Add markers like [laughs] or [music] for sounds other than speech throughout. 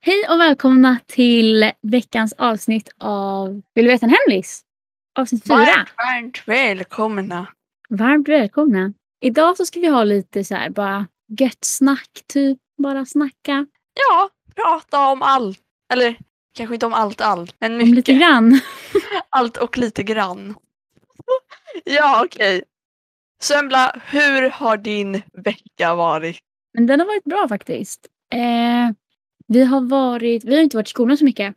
Hej och välkomna till veckans avsnitt av Vill du veta en hemlis? Avsnitt 4. Varmt, varmt välkomna. Varmt välkomna. Idag så ska vi ha lite så här bara gött snack typ. Bara snacka. Ja, prata om allt. Eller kanske inte om allt allt, men Om lite mycket. grann. Allt och lite grann. [laughs] ja, okej. Sömbla, hur har din vecka varit? Men den har varit bra faktiskt. Eh, vi har varit, vi har inte varit i skolan så mycket.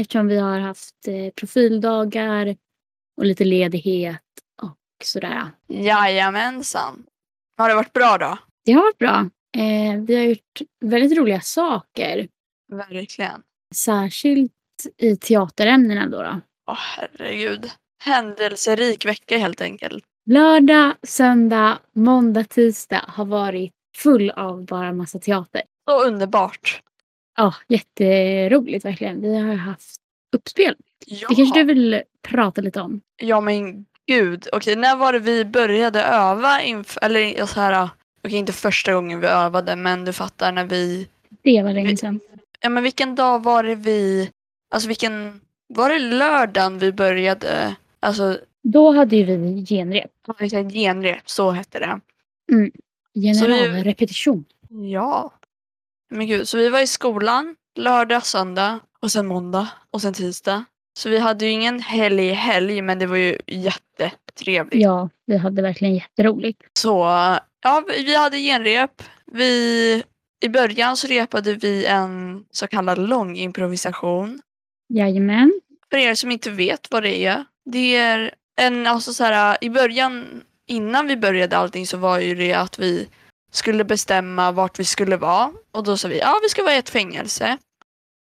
Eftersom vi har haft eh, profildagar och lite ledighet och sådär. Jajamensan. Har det varit bra då? Det har varit bra. Eh, vi har gjort väldigt roliga saker. Verkligen. Särskilt i teaterämnena då. då. Åh herregud. Händelserik vecka helt enkelt. Lördag, söndag, måndag, tisdag har varit full av bara massa teater. Så underbart. Ja, jätteroligt verkligen. Vi har haft uppspel. Ja, Det kanske du vill prata lite om? ja men gud. Okej, när var det vi började öva inför, eller ja, så här, okej inte första gången vi övade men du fattar när vi Det var länge sedan. Ja men vilken dag var det vi, alltså vilken, var det lördagen vi började, alltså Då hade ju vi genrep. vilken genrep, så hette det. Generalrepetition. Ja. Men gud, så vi var i skolan lördag, söndag och sen måndag och sen tisdag. Så vi hade ju ingen helg i helg men det var ju jättetrevligt. Ja, vi hade verkligen jätteroligt. Så ja, vi vi hade genrep. Vi, i början så repade vi en så kallad lång improvisation. Jajamän. För er som inte vet vad det är. Det är en, alltså så här, i början, innan vi började allting så var ju det att vi skulle bestämma vart vi skulle vara. Och då sa vi, ja vi ska vara i ett fängelse.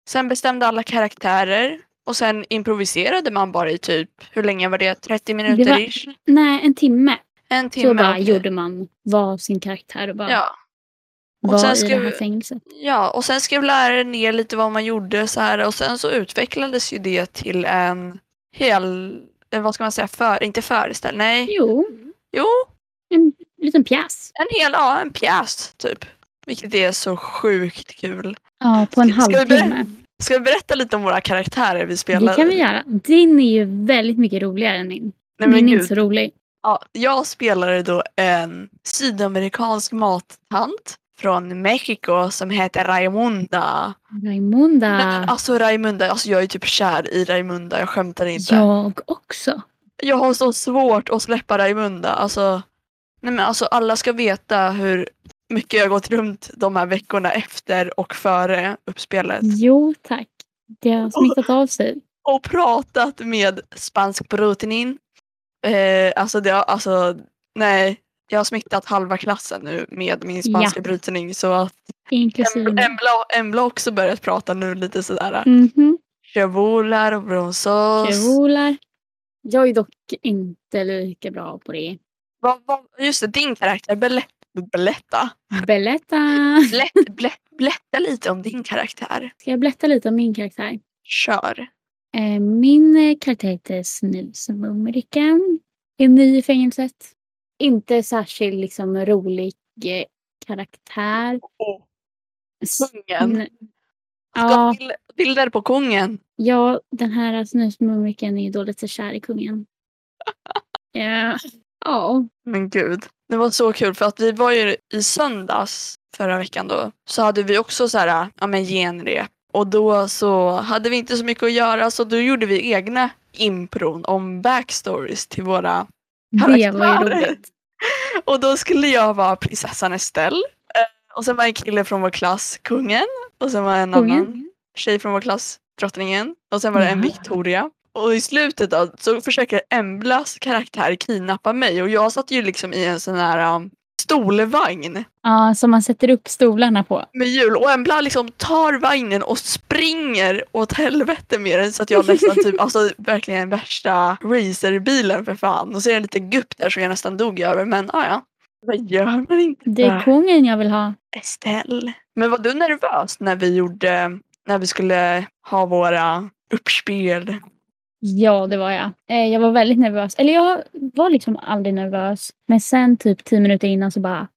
Sen bestämde alla karaktärer. Och sen improviserade man bara i typ, hur länge var det? 30 minuter var ish? Nej, en timme. En timme? Så bara okej. gjorde man var sin karaktär och bara Ja. och var sen i det här skrev- fängelset. Ja, och sen skrev läraren ner lite vad man gjorde så här och sen så utvecklades ju det till en hel, eh, vad ska man säga, för, inte föreställning, nej, Jo, jo, en liten pjäs. en hel, ja, en pjäs typ. Vilket är så sjukt kul. Ja, på en Ska- ska vi börja? halvtimme. Ska vi berätta lite om våra karaktärer vi spelade? Det kan vi göra. Din är ju väldigt mycket roligare än min. Nej, min men är inte gud. så rolig. Ja, jag spelade då en sydamerikansk mattant från Mexiko som heter Raimunda. Raimunda. Men alltså Raimunda, alltså jag är typ kär i Raimunda, jag skämtar inte. jag också. Jag har så svårt att släppa Raimunda. Alltså, nej men alltså alla ska veta hur mycket jag gått runt de här veckorna efter och före uppspelet. Jo tack. Det Oh. har smittat av sig. Och pratat med spansk brutinin. Eh, alltså, det, har- alltså, nej. Jag har smittat halva klassen nu med min spanska brytning så att Inklusive Embla mig. Embla- Embla har också börjat prata nu lite sådär. Mhm. Chevolar och bronzos. Kjolar. Jag är dock inte lika bra på det. Vad- vad- Just det, din karaktär. Beletta. Beletta. Berätta. Blätt, blätt, blätta lite om din karaktär. Ska jag berätta lite om min karaktär? Kör. Eh, Min eh, karaktär heter Snusmumriken. Är ny i fängelset. Inte särskilt liksom, rolig eh, karaktär. S- Kungen. n- Mm. Ja, Ska bil- bilder på kungen. ja, den här snusmumriken är ju då lite kär i [laughs] kungen. Eh, Ja, Men gud. Det var så kul för att vi var ju i söndags förra veckan då. Så hade vi också så här, ja men genrep. Och då så hade vi inte så mycket att göra så då gjorde vi egna impron om backstories till våra det var ju Karaktärer. roligt. Och då skulle jag vara prinsessan Estelle. Eh, Och sen var en kille från vår klass kungen. Och sen var en annan Kungen. tjej från vår klass, drottningen. Och sen var det en Ja. Victoria. Och i slutet då, så försöker Emblas karaktär kidnappa mig och jag satt ju liksom i en sån här um, stolvagn Ja, som man sätter upp stolarna på. med hjul och Embla liksom tar vagnen och springer åt helvete med den så att jag nästan typ, alltså verkligen värsta racerbilen för fan. Och så är det en liten gupp där som jag nästan dog över men ah, ja. Vad gör man inte? Det är där? kungen jag vill ha. Estelle. Men var du nervös när vi gjorde, när vi skulle ha våra uppspel? Ja, det var jag. Eh, Jag var väldigt nervös. Eller jag var liksom aldrig nervös. Men sen typ tio minuter innan så bara...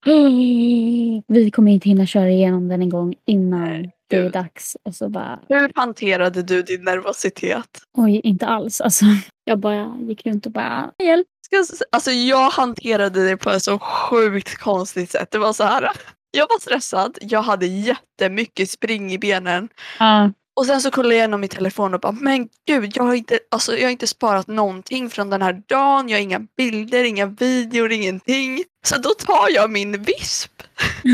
Vi kommer inte hinna köra igenom den en gång innan det är Gud. dags. Och så bara... Hur hanterade du din nervositet? Oj, inte alls. Alltså, jag bara gick runt och bara... Hjälp! Ska jag, s- alltså jag hanterade det på ett så sjukt konstigt sätt. Det var så här. Jag var stressad, jag hade jättemycket spring i benen. Ja, Och sen så kollade jag igenom min telefon och bara, men gud, jag har inte, alltså, jag har inte sparat någonting från den här dagen. Jag har inga bilder, inga videor, ingenting. Så då tar jag min visp,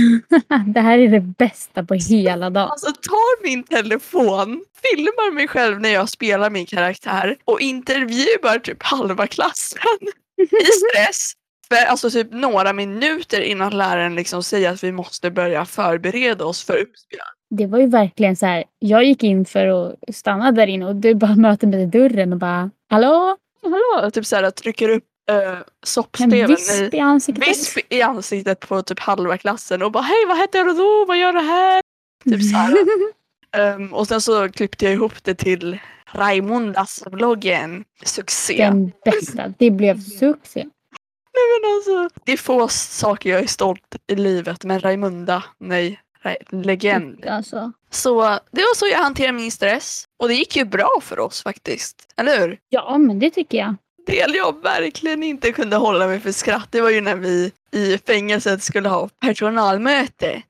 [laughs] det här är det bästa på hela dagen. alltså tar min telefon, filmar mig själv när jag spelar min karaktär och intervjuar typ halva klassen [laughs] i stress. För, alltså typ några minuter innan läraren liksom säger att vi måste börja förbereda oss för uppspel. Det var ju verkligen så här. Jag gick in för att stanna där inne och du bara möter mig i dörren och bara... Hallå? Hallå? Typ såhär trycker upp äh, En soppsteven i visp i ansiktet. visp i ansiktet på typ halva klassen och bara hej vad heter du då, vad gör du här? Typ [laughs] så här. Ehm, och sen så klippte jag ihop det till Raimundas-vloggen. Succé! Den bästa. Det blev succé. Nej, men alltså, det är få saker jag är stolt i livet men Raimunda, nej, Ra- legend. Alltså. Så det var så jag hanterade min stress och det gick ju bra för oss faktiskt, eller hur? Ja, men det tycker jag. del jag verkligen inte kunde hålla mig för skratt det var ju när vi i fängelset skulle ha personalmöte.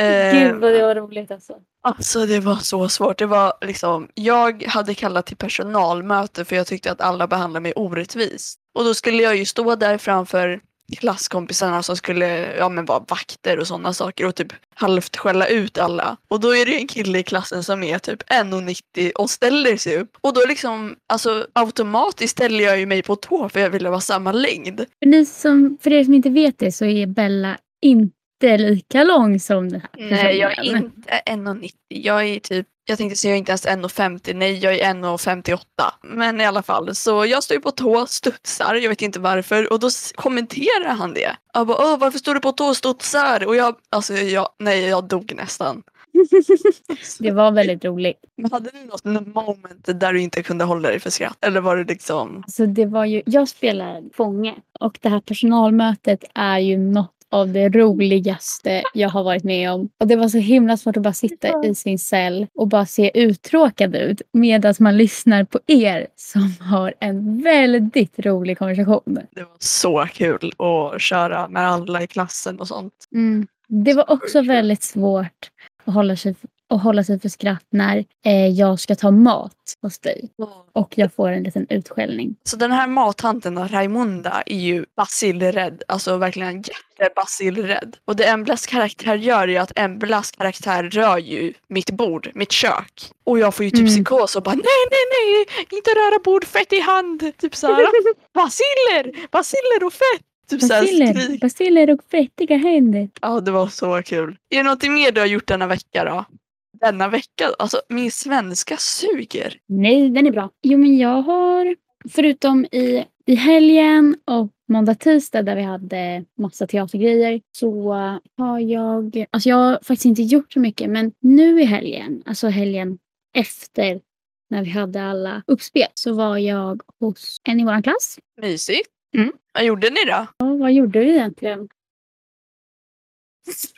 Eh, Gud vad det var roligt alltså. Alltså det var så svårt. Det var liksom, jag hade kallat till personalmöte för jag tyckte att alla behandlade mig orättvist. Och då skulle jag ju stå där framför klasskompisarna som skulle ja, men vara vakter och sådana saker och typ halvt skälla ut alla. Och då är det ju en kille i klassen som är typ 1,90 och ställer sig upp. Och då liksom, alltså automatiskt ställer jag ju mig på tå för jag ville vara samma längd. För, ni som, för er som inte vet det så är Bella inte lika lång som den här Nej, jag är personen. inte 1,90. Jag är typ, jag tänkte säga jag är inte ens 1,50. Nej, jag är 1,58. Men i alla fall, så jag står ju på tå, studsar, jag vet inte varför. Och då s- kommenterar han det. Jag bara, Åh, varför står du på tå och studsar? Och jag, alltså jag, nej, jag dog nästan. Det var väldigt roligt. Men hade du något moment där du inte kunde hålla dig för skratt? Eller var det liksom, Alltså, det var ju, jag spelar fånge och det här personalmötet är ju något av det roligaste jag har varit med om. Och Det var så himla svårt att bara sitta i sin cell och bara se uttråkad ut medan man lyssnar på er som har en väldigt rolig konversation. det var så kul att köra med alla i klassen och sånt. Mm. Det var också väldigt svårt att hålla sig, att hålla sig för skratt när eh, jag ska ta mat hos dig och jag får en liten utskällning. Så den här mattanten då, Raimunda är ju basilrädd. Alltså verkligen jättebasilrädd. Och det Emblas karaktär gör är ju att Emblas karaktär rör ju mitt bord, mitt kök. Och jag får ju typ Mm. psykos och bara nej, nej, nej, inte röra bord, fett i hand. Typ såhär, [laughs] basiller, basiller och fett. Typ såhär Basiller, skrik. basiller och fettiga händer. Ja, det var så kul. Är det någonting mer du har gjort denna vecka då? Denna vecka? Alltså min svenska suger. Nej, den är bra. Jo, men jag har, förutom i, i helgen och måndag, tisdag där vi hade massa teatergrejer, så har jag, alltså jag har faktiskt inte gjort så mycket, men nu i helgen, alltså helgen efter när vi hade alla uppspel, så var jag hos en i vår klass. Mysigt. Mm. Vad gjorde ni då? Ja, vad gjorde vi egentligen?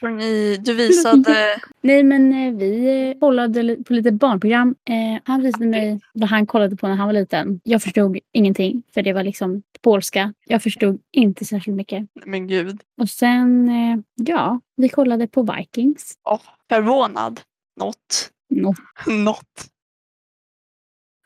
För ni, [laughs] du visade Nej, men eh, vi eh, kollade li- på lite barnprogram. Eh, han visade mig vad han kollade på när han var liten. Jag förstod ingenting, för det var liksom polska. Jag förstod inte särskilt mycket. Men gud. Och sen, eh, ja, vi kollade på Vikings. Oh, förvånad. [laughs] Något. Något, Något.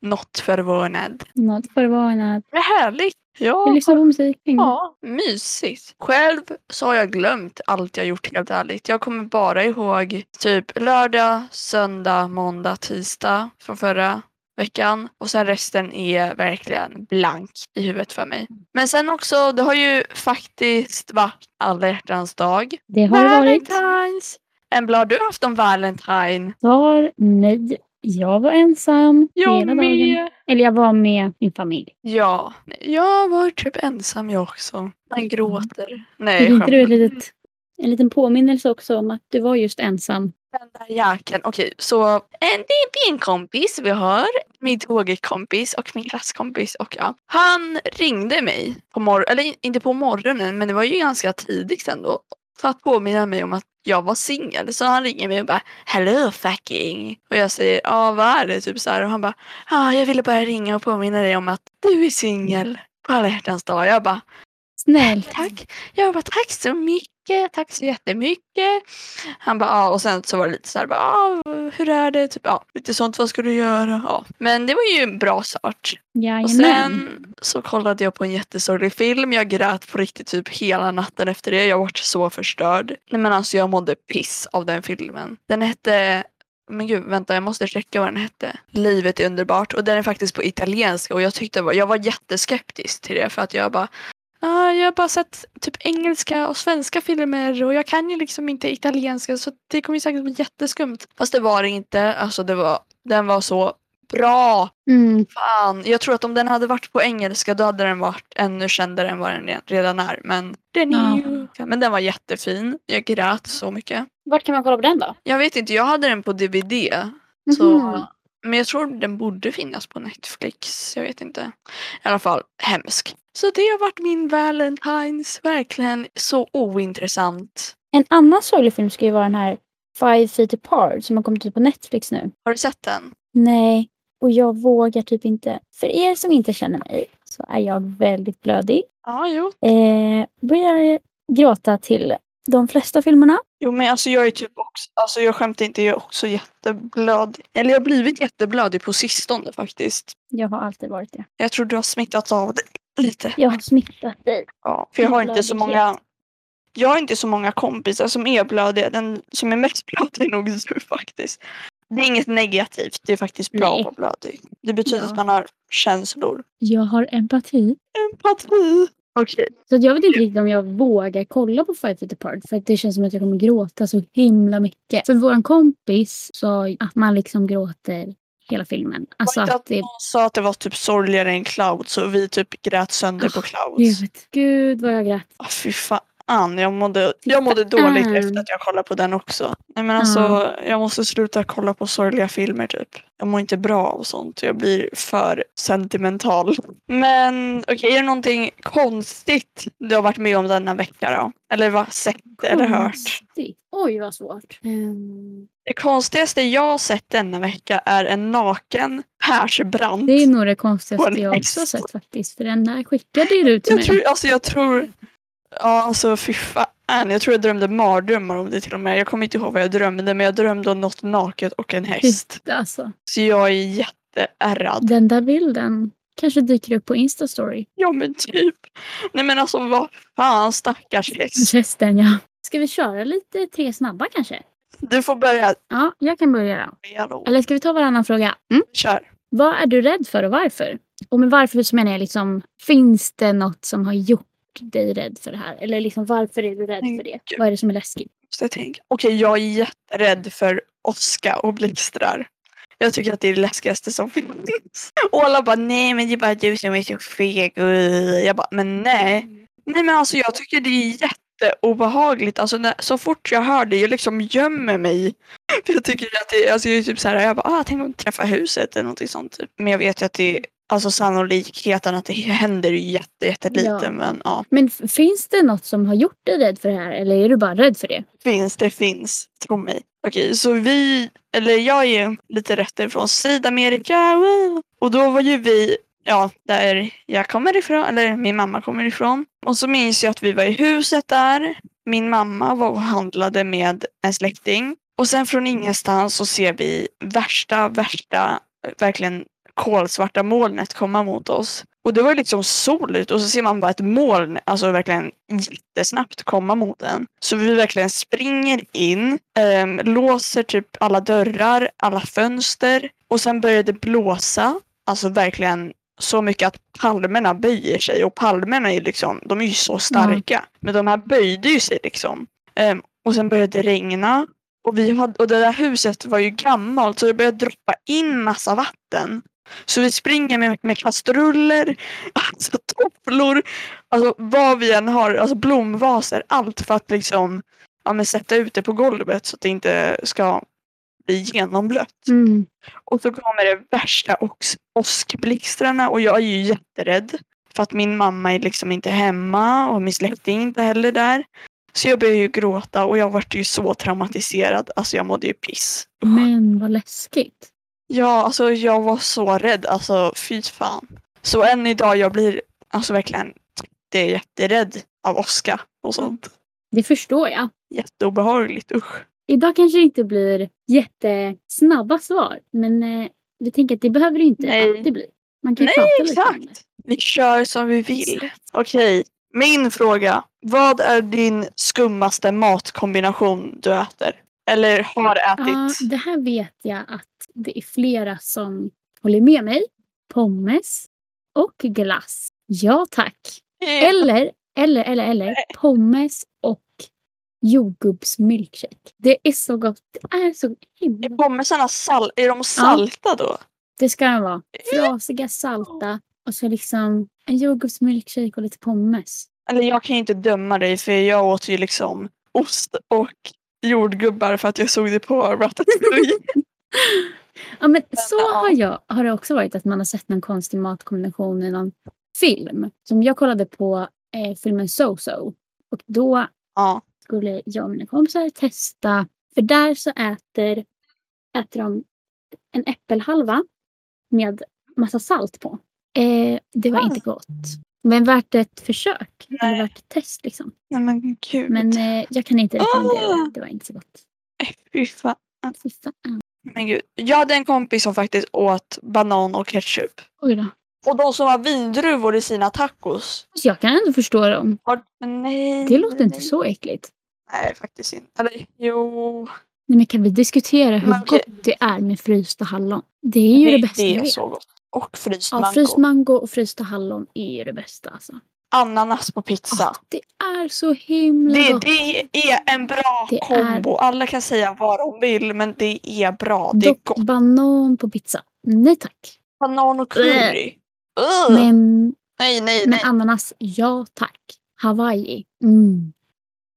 Något förvånad. något förvånat. Vad härligt. Vi Ja, lyssnade på musik. hängde. ja, mysigt. Själv så har jag glömt allt jag gjort helt ärligt. Jag kommer bara ihåg typ lördag, söndag, måndag, tisdag från förra veckan och sen resten är verkligen blank i huvudet för mig. Men sen också, det har ju faktiskt varit alla hjärtans dag. Det har det varit. Valentines! Embla, har du haft en Valentine? Svar nej. Jag var ensam hela dagen. Eller jag var med min familj. Ja, jag var typ ensam jag också. Man gråter. Nej, Fick inte skämt. du ett litet, en liten påminnelse också om att du var just ensam? Den där jäkeln. Okej, så eh, det är min kompis vi har. Min tågkompis och min klasskompis och ja. Han ringde mig på morgonen, eller in- inte på morgonen men det var ju ganska tidigt ändå. För att påminna mig om att jag var singel. Så han ringer mig och bara Hello fucking. Och jag säger ja vad är det? Typ så här. Och han bara ja jag ville bara ringa och påminna dig om att du är singel. På alla hjärtans dag. Jag bara Snällt. Tack. Jag bara tack så mycket, tack så jättemycket. Han bara ja och sen så var det lite så här bara ja, hur är det? Typ ja, lite sånt vad ska du göra? Ja. Men det var ju en bra start. Och Jajamän. sen så kollade jag på en jättesorglig film. Jag grät på riktigt typ hela natten efter det. Jag var så förstörd. Nej men alltså jag mådde piss av den filmen. Den hette men gud, vänta jag måste checka vad den hette. Livet är underbart och den är faktiskt på italienska och jag tyckte det var, jag var jätteskeptisk till det för att jag bara "Ah, jag har bara sett typ engelska och svenska filmer och jag kan ju liksom inte italienska så det kommer ju säkert bli jätteskumt. Fast det var det inte, alltså det var, den var så bra Mm. Fan, jag tror att om den hade varit på engelska då hade den varit ännu kändare än vad den re- redan är. Men den, är ju... men den var jättefin. Jag grät så mycket. Vart kan man kolla på den då? Mm-hmm. Jag vet inte, jag hade den på DVD. Så... Men jag tror den borde finnas på Netflix. Jag vet inte. I alla fall, hemsk. Så det har varit min Valentines. Verkligen så ointressant. En annan sorglig film ska ju vara den här Five Feet Apart som har kommit ut på Netflix nu. Har du sett den? Nej, och jag vågar typ inte. För er som inte känner mig så är jag väldigt blödig. Ja, jo. Eh, börjar gråta till de flesta filmerna. Jo men alltså jag är typ också, alltså jag skämtar inte, jag är också jätteblödig. Eller jag har blivit jätteblödig på sistone faktiskt. Jag har alltid varit det. Jag tror du har smittats av det lite. Jag har smittat dig. Ja, för jag har inte blödighet. så många jag har inte så många kompisar som är blödiga. Den som är mest [laughs] blödig är nog du faktiskt. Det är inget negativt. Det är faktiskt bra Nej. att vara blödig. Det betyder Ja. att man har känslor. Jag har empati. Empati. Okej. Så att jag vet inte riktigt om jag vågar kolla på Five Feet Apart för att det känns som att jag kommer gråta så himla mycket. För vår kompis sa att man liksom gråter hela filmen. Alltså Var inte att det Någon sa att det var typ sorgligare än Clouds så vi typ grät sönder Ah, på Clouds. Gud, Gud vad jag grät. Ah, fy fan, jag mådde, jag mådde dåligt fan. efter att jag kollade på den också. Nej, men alltså, jag måste sluta kolla på sorgliga filmer typ. Jag mår inte bra av sånt, jag blir för sentimental. Men okej, är det någonting konstigt du har varit med om denna vecka då? Eller vad, sett eller hört? Mm. Konstigt. Oj vad svårt. Ehm, Det konstigaste jag har sett denna vecka är en naken Persbrandt. Det är nog det På konstigaste en jag också häst. har sett faktiskt. För den där skickade ju du till Jag mig. tror, alltså jag tror, ja alltså fy fan, jag tror jag drömde mardrömmar om det till och med. Jag kommer inte ihåg vad jag drömde men jag drömde om något naket och en häst. Alltså, Så jag är jätteärrad. den där bilden kanske dyker upp på Instastory. Ja men typ. Nej men alltså vad fan stackars häst. Resten ja. Ska vi köra lite tre snabba kanske? Du får börja. Ja, jag kan börja då. börja då. Eller ska vi ta varannan fråga? Mm. Kör. Vad är du rädd för och varför? Och med varför så menar jag liksom, finns det något som har gjort dig rädd för det här? Eller liksom, varför är du rädd Men för det? gud. Vad är det som är läskigt? Måste jag tänka. Okej jag är jätterädd för åska och blixtrar. Jag tycker att det är det läskigaste som finns. Och alla bara nej men det är bara du som är så feg. Jag bara men nej. Nej men alltså jag tycker det är jätteobehagligt. Alltså när, så fort jag hör det, jag liksom gömmer mig. [laughs] För jag tycker att det, alltså jag är typ så här, jag bara ah, tänk om jag träffar huset eller någonting sånt. Typ. Men jag vet ju att det, alltså sannolikheten att det [laughs] händer är jätte, jätteliten. Ja. Men ja, Men f- finns det något som har gjort dig rädd för det här? Eller är du bara rädd för det? finns det finns, tro mig. Okej, så vi, eller jag är ju lite rätt ifrån Sydamerika. wow. Och då var ju vi ja, där jag kommer ifrån, eller min mamma kommer ifrån. Och så minns jag att vi var i huset där. Min mamma var och handlade med en släkting. Och sen från ingenstans så ser vi värsta, värsta, verkligen kolsvarta molnet komma mot oss. Och det var ju liksom sol ut och så ser man bara ett moln, alltså verkligen jättesnabbt komma mot en. Så vi verkligen springer in, ehm, låser typ alla dörrar, alla fönster och sen börjar det blåsa alltså verkligen så mycket att palmerna böjer sig och palmerna är liksom, de är ju så starka. Men de här böjde ju sig liksom. Ehm, och sen började det regna och, vi hade, och det där huset var ju gammalt så det började droppa in massa vatten. Så vi springer med, med kastruller, [laughs] alltså tofflor, alltså vad vi än har, alltså blomvaser, allt för att liksom ja, men sätta ut det på golvet så att det inte ska bli genomblött. Mm. Och så kommer det värsta ox- åskblixtrarna och jag är ju jätterädd. För att min mamma är liksom inte hemma och min släkting inte heller där. Så jag började ju gråta och jag vart ju så traumatiserad. Alltså jag mådde ju piss. Men vad läskigt. Ja, alltså jag var så rädd. Alltså fy fan. Så än idag jag blir alltså verkligen det är jätterädd av åska och sånt. Det förstår jag. Jätteobehagligt, usch. Idag kanske det inte blir jättesnabba svar, men eh, vi tänker att det behöver det inte Nej. alltid bli. Man kan ju Nej, prata lite om det. Exakt. Vi kör som vi vill. Okej, min fråga. Vad är din skummaste matkombination du äter? Eller har Ja, ätit? det här vet jag att det är flera som håller med mig. Pommes och glass. Ja tack. Eh, Eller, eller, eller, eller pommes och jordgubbsmilkshake. Det är så gott. Det är så himla Är gott. pommesarna sal- är de salta då? Det ska de vara. Frasiga, salta och så liksom en jordgubbsmilkshake och lite pommes. Eller jag kan ju inte döma dig för jag åt ju liksom ost och jordgubbar för att jag såg det på Ratatouille. Ja, men så ja. har, jag, har det också varit att man har sett någon konstig matkombination i någon film. Som jag kollade på eh, filmen So-So. Och då ja. skulle jag och mina kompisar testa. För där så äter, äter de en äppelhalva med massa salt på. Eh, det var Ah. inte gott. Men värt ett försök. Eller Nej. värt ett test liksom. Nej men gud. Men eh, jag kan inte rekommendera Ah. det. Det var inte så gott. Äh, Fy fan. Fy fan. Men gud. Jag hade en kompis som faktiskt åt banan och ketchup. Oj då. Och de som har vindruvor i sina tacos. Så jag kan ändå förstå dem. Har... Men Nej. Det låter inte nej. så äckligt. Nej, faktiskt inte. Eller jo. Nej, men kan vi diskutera hur Men okej. gott det är med frysta hallon? Det är ju det, bästa det jag är vet. så gott. Och fryst Ja, mango. fryst mango och frysta hallon är ju det bästa. Alltså. Ananas på Ja, pizza. det är så himla Det, gott. det är en bra Det är- kombo. Alla kan säga vad de vill men det är bra. Det är Dock gott. banan på pizza. Nej tack. Banan och curry. Ugh. Äh. Men, Nej, nej, men nej. ananas, ja tack. Hawaii, mm.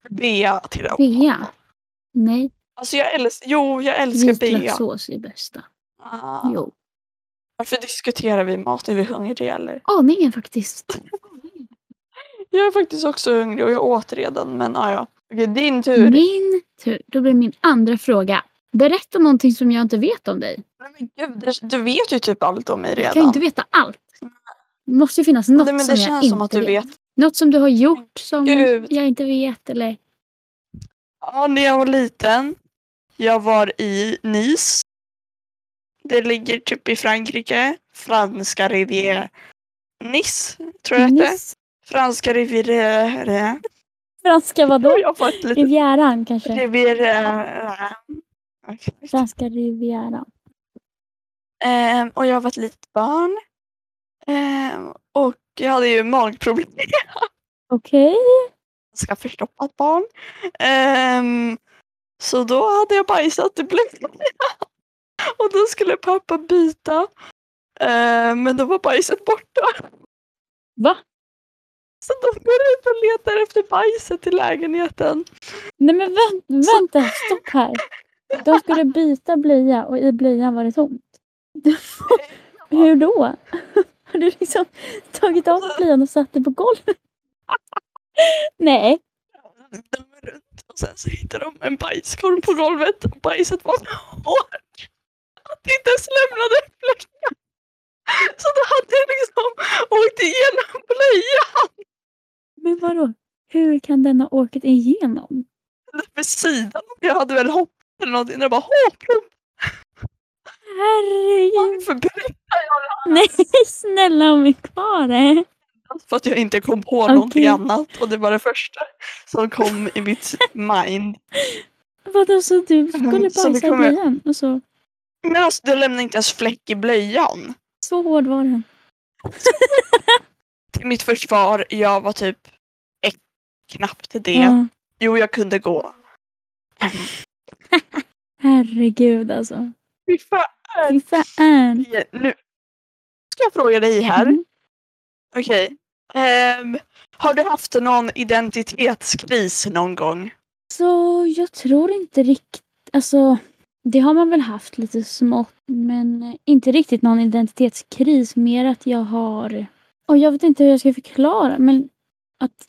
Bea till dem. Bea. Nej, Alltså jag älskar, jo jag älskar bea. vitlökssås är det bästa. Ah. Jo. Varför diskuterar vi mat? Är vi hungriga eller? Aningen Ah, faktiskt. Jag är faktiskt också hungrig och jag åt redan men ah, ja. Okej, din tur. Min tur. Då blir min andra fråga. Berätta någonting som jag inte vet om dig. Nej, men gud, det- du vet ju typ allt om mig redan. Jag kan ju inte veta allt. Det måste ju finnas något Nej, men som det jag känns inte som att du vet. Något som du har gjort som Gud. jag inte vet eller... Ja, när jag var liten. Jag var i Nice. Det ligger typ i Frankrike. Franska rivier... Nice, tror jag hette. Nyss. Franska rivier... Franska vadå? Jag får ett litet... Rivieran kanske? Rivier... Okej. Franska rivieran. Ehm, och jag var ett litet barn. Ehm, och jag hade ju magproblem. Okej. Ganska förstoppat barn. Ehm, så då hade jag bajsat i blöjan. [laughs] och då skulle pappa byta. Ehm, men då var bajset borta. [laughs] Va? Så då går jag ut och letar efter bajset i lägenheten. Nej men vänt, vänta, stopp här. De skulle byta blöja och i blöjan var det tomt. Hur då? Har du liksom tagit av blöjan och satt den på golvet? Nej. De var runt och sen så hittade de en bajskorv på golvet och bajset var så hårt att det inte ens lämnade fläckar. Så då hade jag liksom åkt igenom blöjan Men vadå? Hur kan den ha åkt igenom? vid sidan. Jag hade väl hoppat eller någonting och jag bara hopp, Herregud. varför berättas Nej, snälla ha mig kvar. eh. för att jag inte kom på Okej. någonting annat och det var det första som kom i mitt mind. Vadå, så du skulle Mm, så det bajsa i kommer- blöjan? Och så, Men alltså det lämnade inte ens fläck i blöjan. så hård var den. Till mitt försvar, jag var typ ett, knappt det. Ja. Jo, jag kunde gå. Herregud alltså. Fy fan. Fy fan. Ja, Nu ska jag fråga dig här. Mm. Okej. Ehm, har du haft någon identitetskris någon gång? Så jag tror inte riktigt, alltså det har man väl haft lite smått men eh, inte riktigt någon identitetskris. Mer att jag har, och jag vet inte hur jag ska förklara men att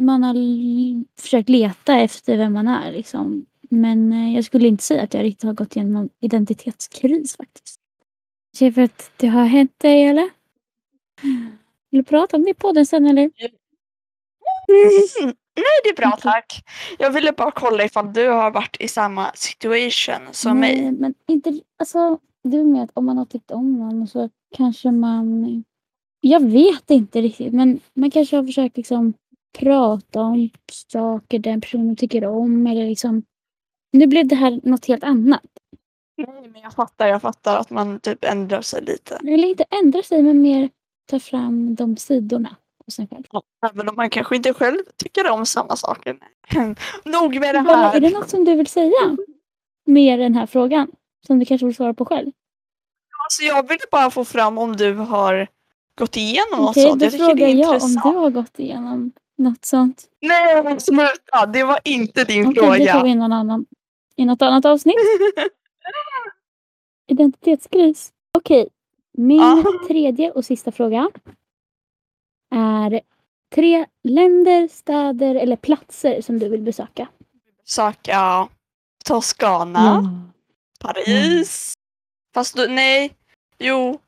man har l- försökt leta efter vem man är liksom. Men eh, jag skulle inte säga att jag riktigt har gått igenom någon identitetskris faktiskt. Ser för att det har hänt dig eller? Vill du prata om det på den sen eller? Mm. Nej, det är bra Okej. tack. Jag ville bara kolla ifall du har varit i samma situation som Nej, mig. men inte, alltså, det är med att om man har tyckt om någon så kanske man... Jag vet inte riktigt, men man kanske har försökt liksom prata om saker den personen tycker om eller liksom... Nu blev det här något helt annat. Nej, men jag fattar, jag fattar att man typ ändrar sig lite. Eller inte ändra sig, men mer ta fram de sidorna hos en själv. Även om man kanske inte själv tycker om samma saker. [laughs] Nog med det Vad- Är här. det något som du vill säga med den här frågan? Som du kanske vill svara på själv? Alltså, jag ville bara få fram om du har gått igenom något Okej, sånt. då Jag tycker det frågar är jag om intressant. du har gått igenom något sånt. Nej, men sluta! Det var inte din Okej, det tar vi fråga. i någon annan. I något annat avsnitt. [laughs] Identitetskris. Okej. Min Ja. tredje och sista fråga är tre länder, städer eller platser som du vill besöka. Söka Toscana, Mm. Paris. Fast då, nej, jo.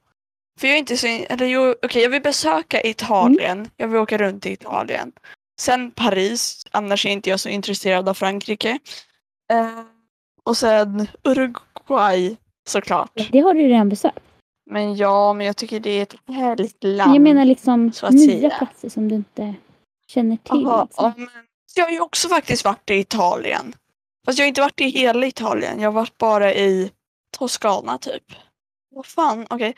För jag är inte så... in- Eller jo, okej, jag vill besöka Italien. Mm. Jag vill åka runt i Italien. Sen Paris, annars är inte jag så intresserad av Frankrike. Eh, och sen Uruguay, såklart. Det har du redan besökt. Men ja, men jag tycker det är ett härligt land. Jag menar liksom så att nya säga. platser som du inte känner till. Aha, liksom. ja, men, jag har ju också faktiskt varit i Italien. Fast jag har inte varit i hela Italien. Jag har varit bara i Toscana typ. Vad fan, okej.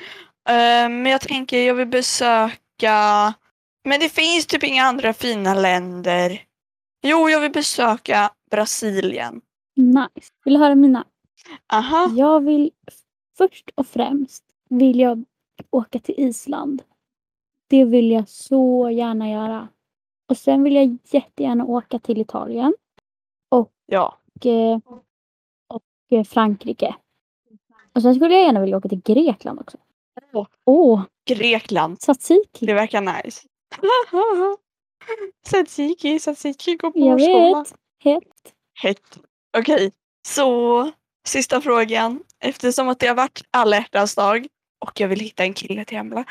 Eh, men jag tänker jag vill besöka... Men det finns typ inga andra fina länder. Jo, jag vill besöka Brasilien. Nice. Vill du höra mina? Aha. Jag vill först och främst vill jag åka till Island. Det vill jag så gärna göra. Och sen vill jag jättegärna åka till Italien Ja. och, eh, och eh, Frankrike. Och sen skulle jag gärna vilja åka till Grekland också. Åh. Åh, Grekland. tzatziki. Det verkar nice. [laughs] Tzatziki, tzatziki går på Jag sommar. vet. Hett. Hett. Okej, så sista frågan. Eftersom att det har varit alla hjärtans dag och jag vill hitta en kille till Embla.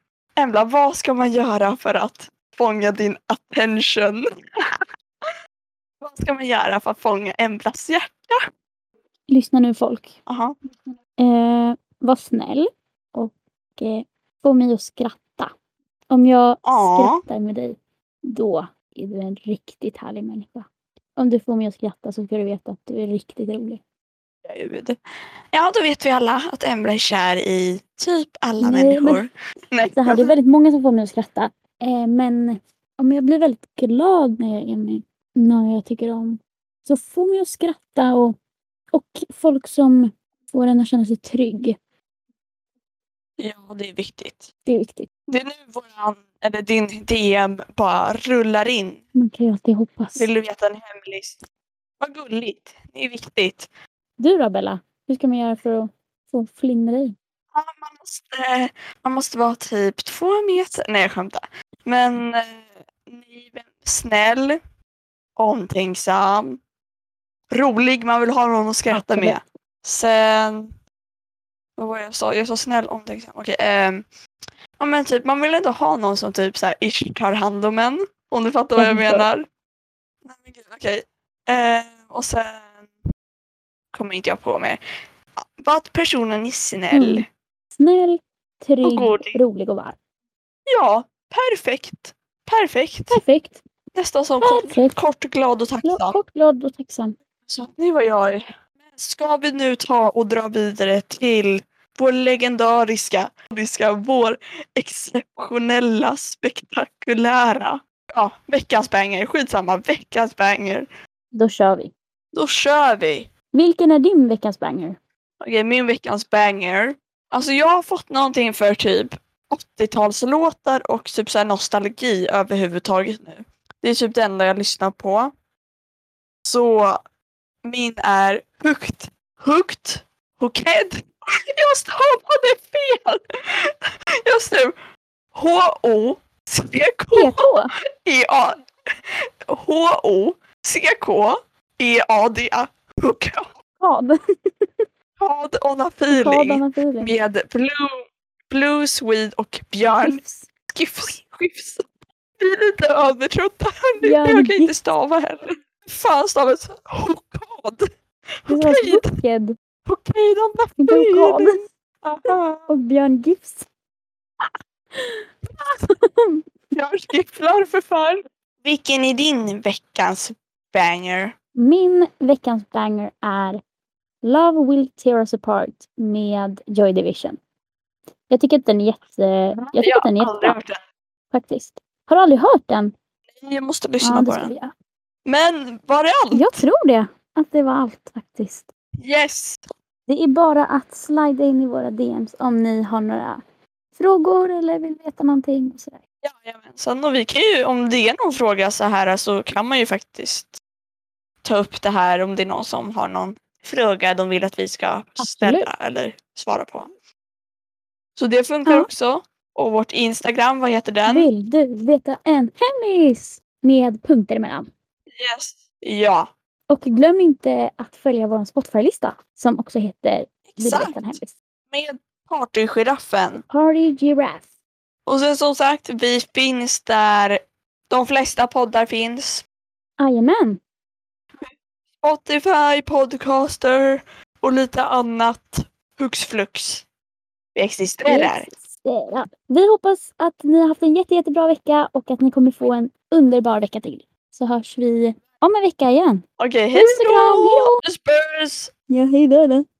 [clears throat] Embla, vad ska man göra för att fånga din attention? [laughs] vad ska man göra för att fånga Emblas hjärta? Lyssna nu folk. Aha. Eh, var snäll och eh, få mig att skratta. Om jag Ja. skrattar med dig, då är du en riktigt härlig människa. Om du får mig att skratta så ska du veta att du är riktigt rolig. Gud. Ja, då vet vi alla att Embla är kär i typ alla Nej, men- människor. Nej. Så här, det är väldigt många som får mig att skratta. Eh, men om jag blir väldigt glad när jag är med någon jag tycker om, så få mig att skratta och, och folk som får en att känna sig trygg. Ja, det är viktigt. Det är viktigt. Det är nu våran, eller din DM bara rullar in. Man kan ju alltid hoppas. Vill du veta en hemlis? Vad gulligt. Det är viktigt. Du då Bella? Hur ska man göra för att få fling med dig? Ja, man, måste, eh, man måste vara typ två meter. Nej, jag skämtar. Men eh, ny vän- snäll, omtänksam, rolig. Man vill ha någon att skratta med. Sen... Vad var det jag sa? Jag sa snäll, omtänksam. Okej. ehm, ja, men typ, man vill ändå ha någon som typ så här, ish, tar hand om en. Om du fattar vad jag Jag förstår. menar. Nej, men gud, okej. Eh, och sen kommer inte jag på mer. Ja, Var att personen är snäll. Mm. Snäll, Och trygg, god. rolig och varm. Ja, perfekt. Perfekt. Perfekt. Nästan som kort, Perfekt. kort, glad och Gla- tacksam. Kort, glad och tacksam. Så att ni vad jag är. Men Ska vi nu ta och dra vidare till vår legendariska, legendariska, vår exceptionella, spektakulära, ja, veckans banger. Skitsamma, veckans banger. Då kör vi. Då kör vi! Vilken är din veckans [laughs] banger? Okej, min veckans banger. Alltså jag har fått någonting för typ 80-talslåtar och typ så här nostalgi överhuvudtaget nu. Det är typ det enda jag lyssnar på. Så min är högt, högt, hoked. [laughs] Jag stavade fel! [laughs] Just nu. H-O-C-K. PK. E-A E H-O-C-K-E-A-D-A Vad? Chad Onafili Skadan filing. med Blue, Blue Swede och [laughs] Björn Gifs. Skifs. Skifs. Vi är lite övertrötta här nu. Björn Jag kan inte Gifs. stava heller. Fan stavas Hokad. Det var Hokid. Hooked, Hokid inte Hokad. Onafili. Aha. Och Björn Gifs. Björn Skifflar för fan. Vilken är din veckans banger? Min veckans banger är Love Will Tear Us Apart med Joy Division. Jag tycker att den är jätte... Jag tycker att den är jättebra den. faktiskt. Har du aldrig hört den? Jag måste Ja, lyssna det på ska den. vi göra. Men var det allt? Jag tror det. Att det var allt faktiskt. Yes! Det är bara att slida in i våra DMs om ni har några frågor eller vill veta någonting. Och sådär. Jajamensan, och vi kan ju, om det är någon fråga så här så kan man ju faktiskt ta upp det här om det är någon som har någon fråga de vill att vi ska ställa eller svara på. Så det funkar Ja. också. Och vårt Instagram, vad heter den? Vill du veta en hemlis? Med punkter emellan. Yes. Ja, Och glöm inte att följa vår Spotify-lista som också heter Vill du exakt. veta en hemlis? Med partygiraffen. Party Giraffe. Och sen som sagt, vi finns där de flesta poddar finns. Jajamän. Spotify, Podcaster och lite annat. Hux flux. Vi existerar. Existerar. Vi hoppas att ni har haft en jätte, jättebra vecka och att ni kommer få en underbar vecka till. Så hörs vi om en vecka igen. Okej, hej Puss och kram, då! hejdå! Puss puss! Ja, hej då.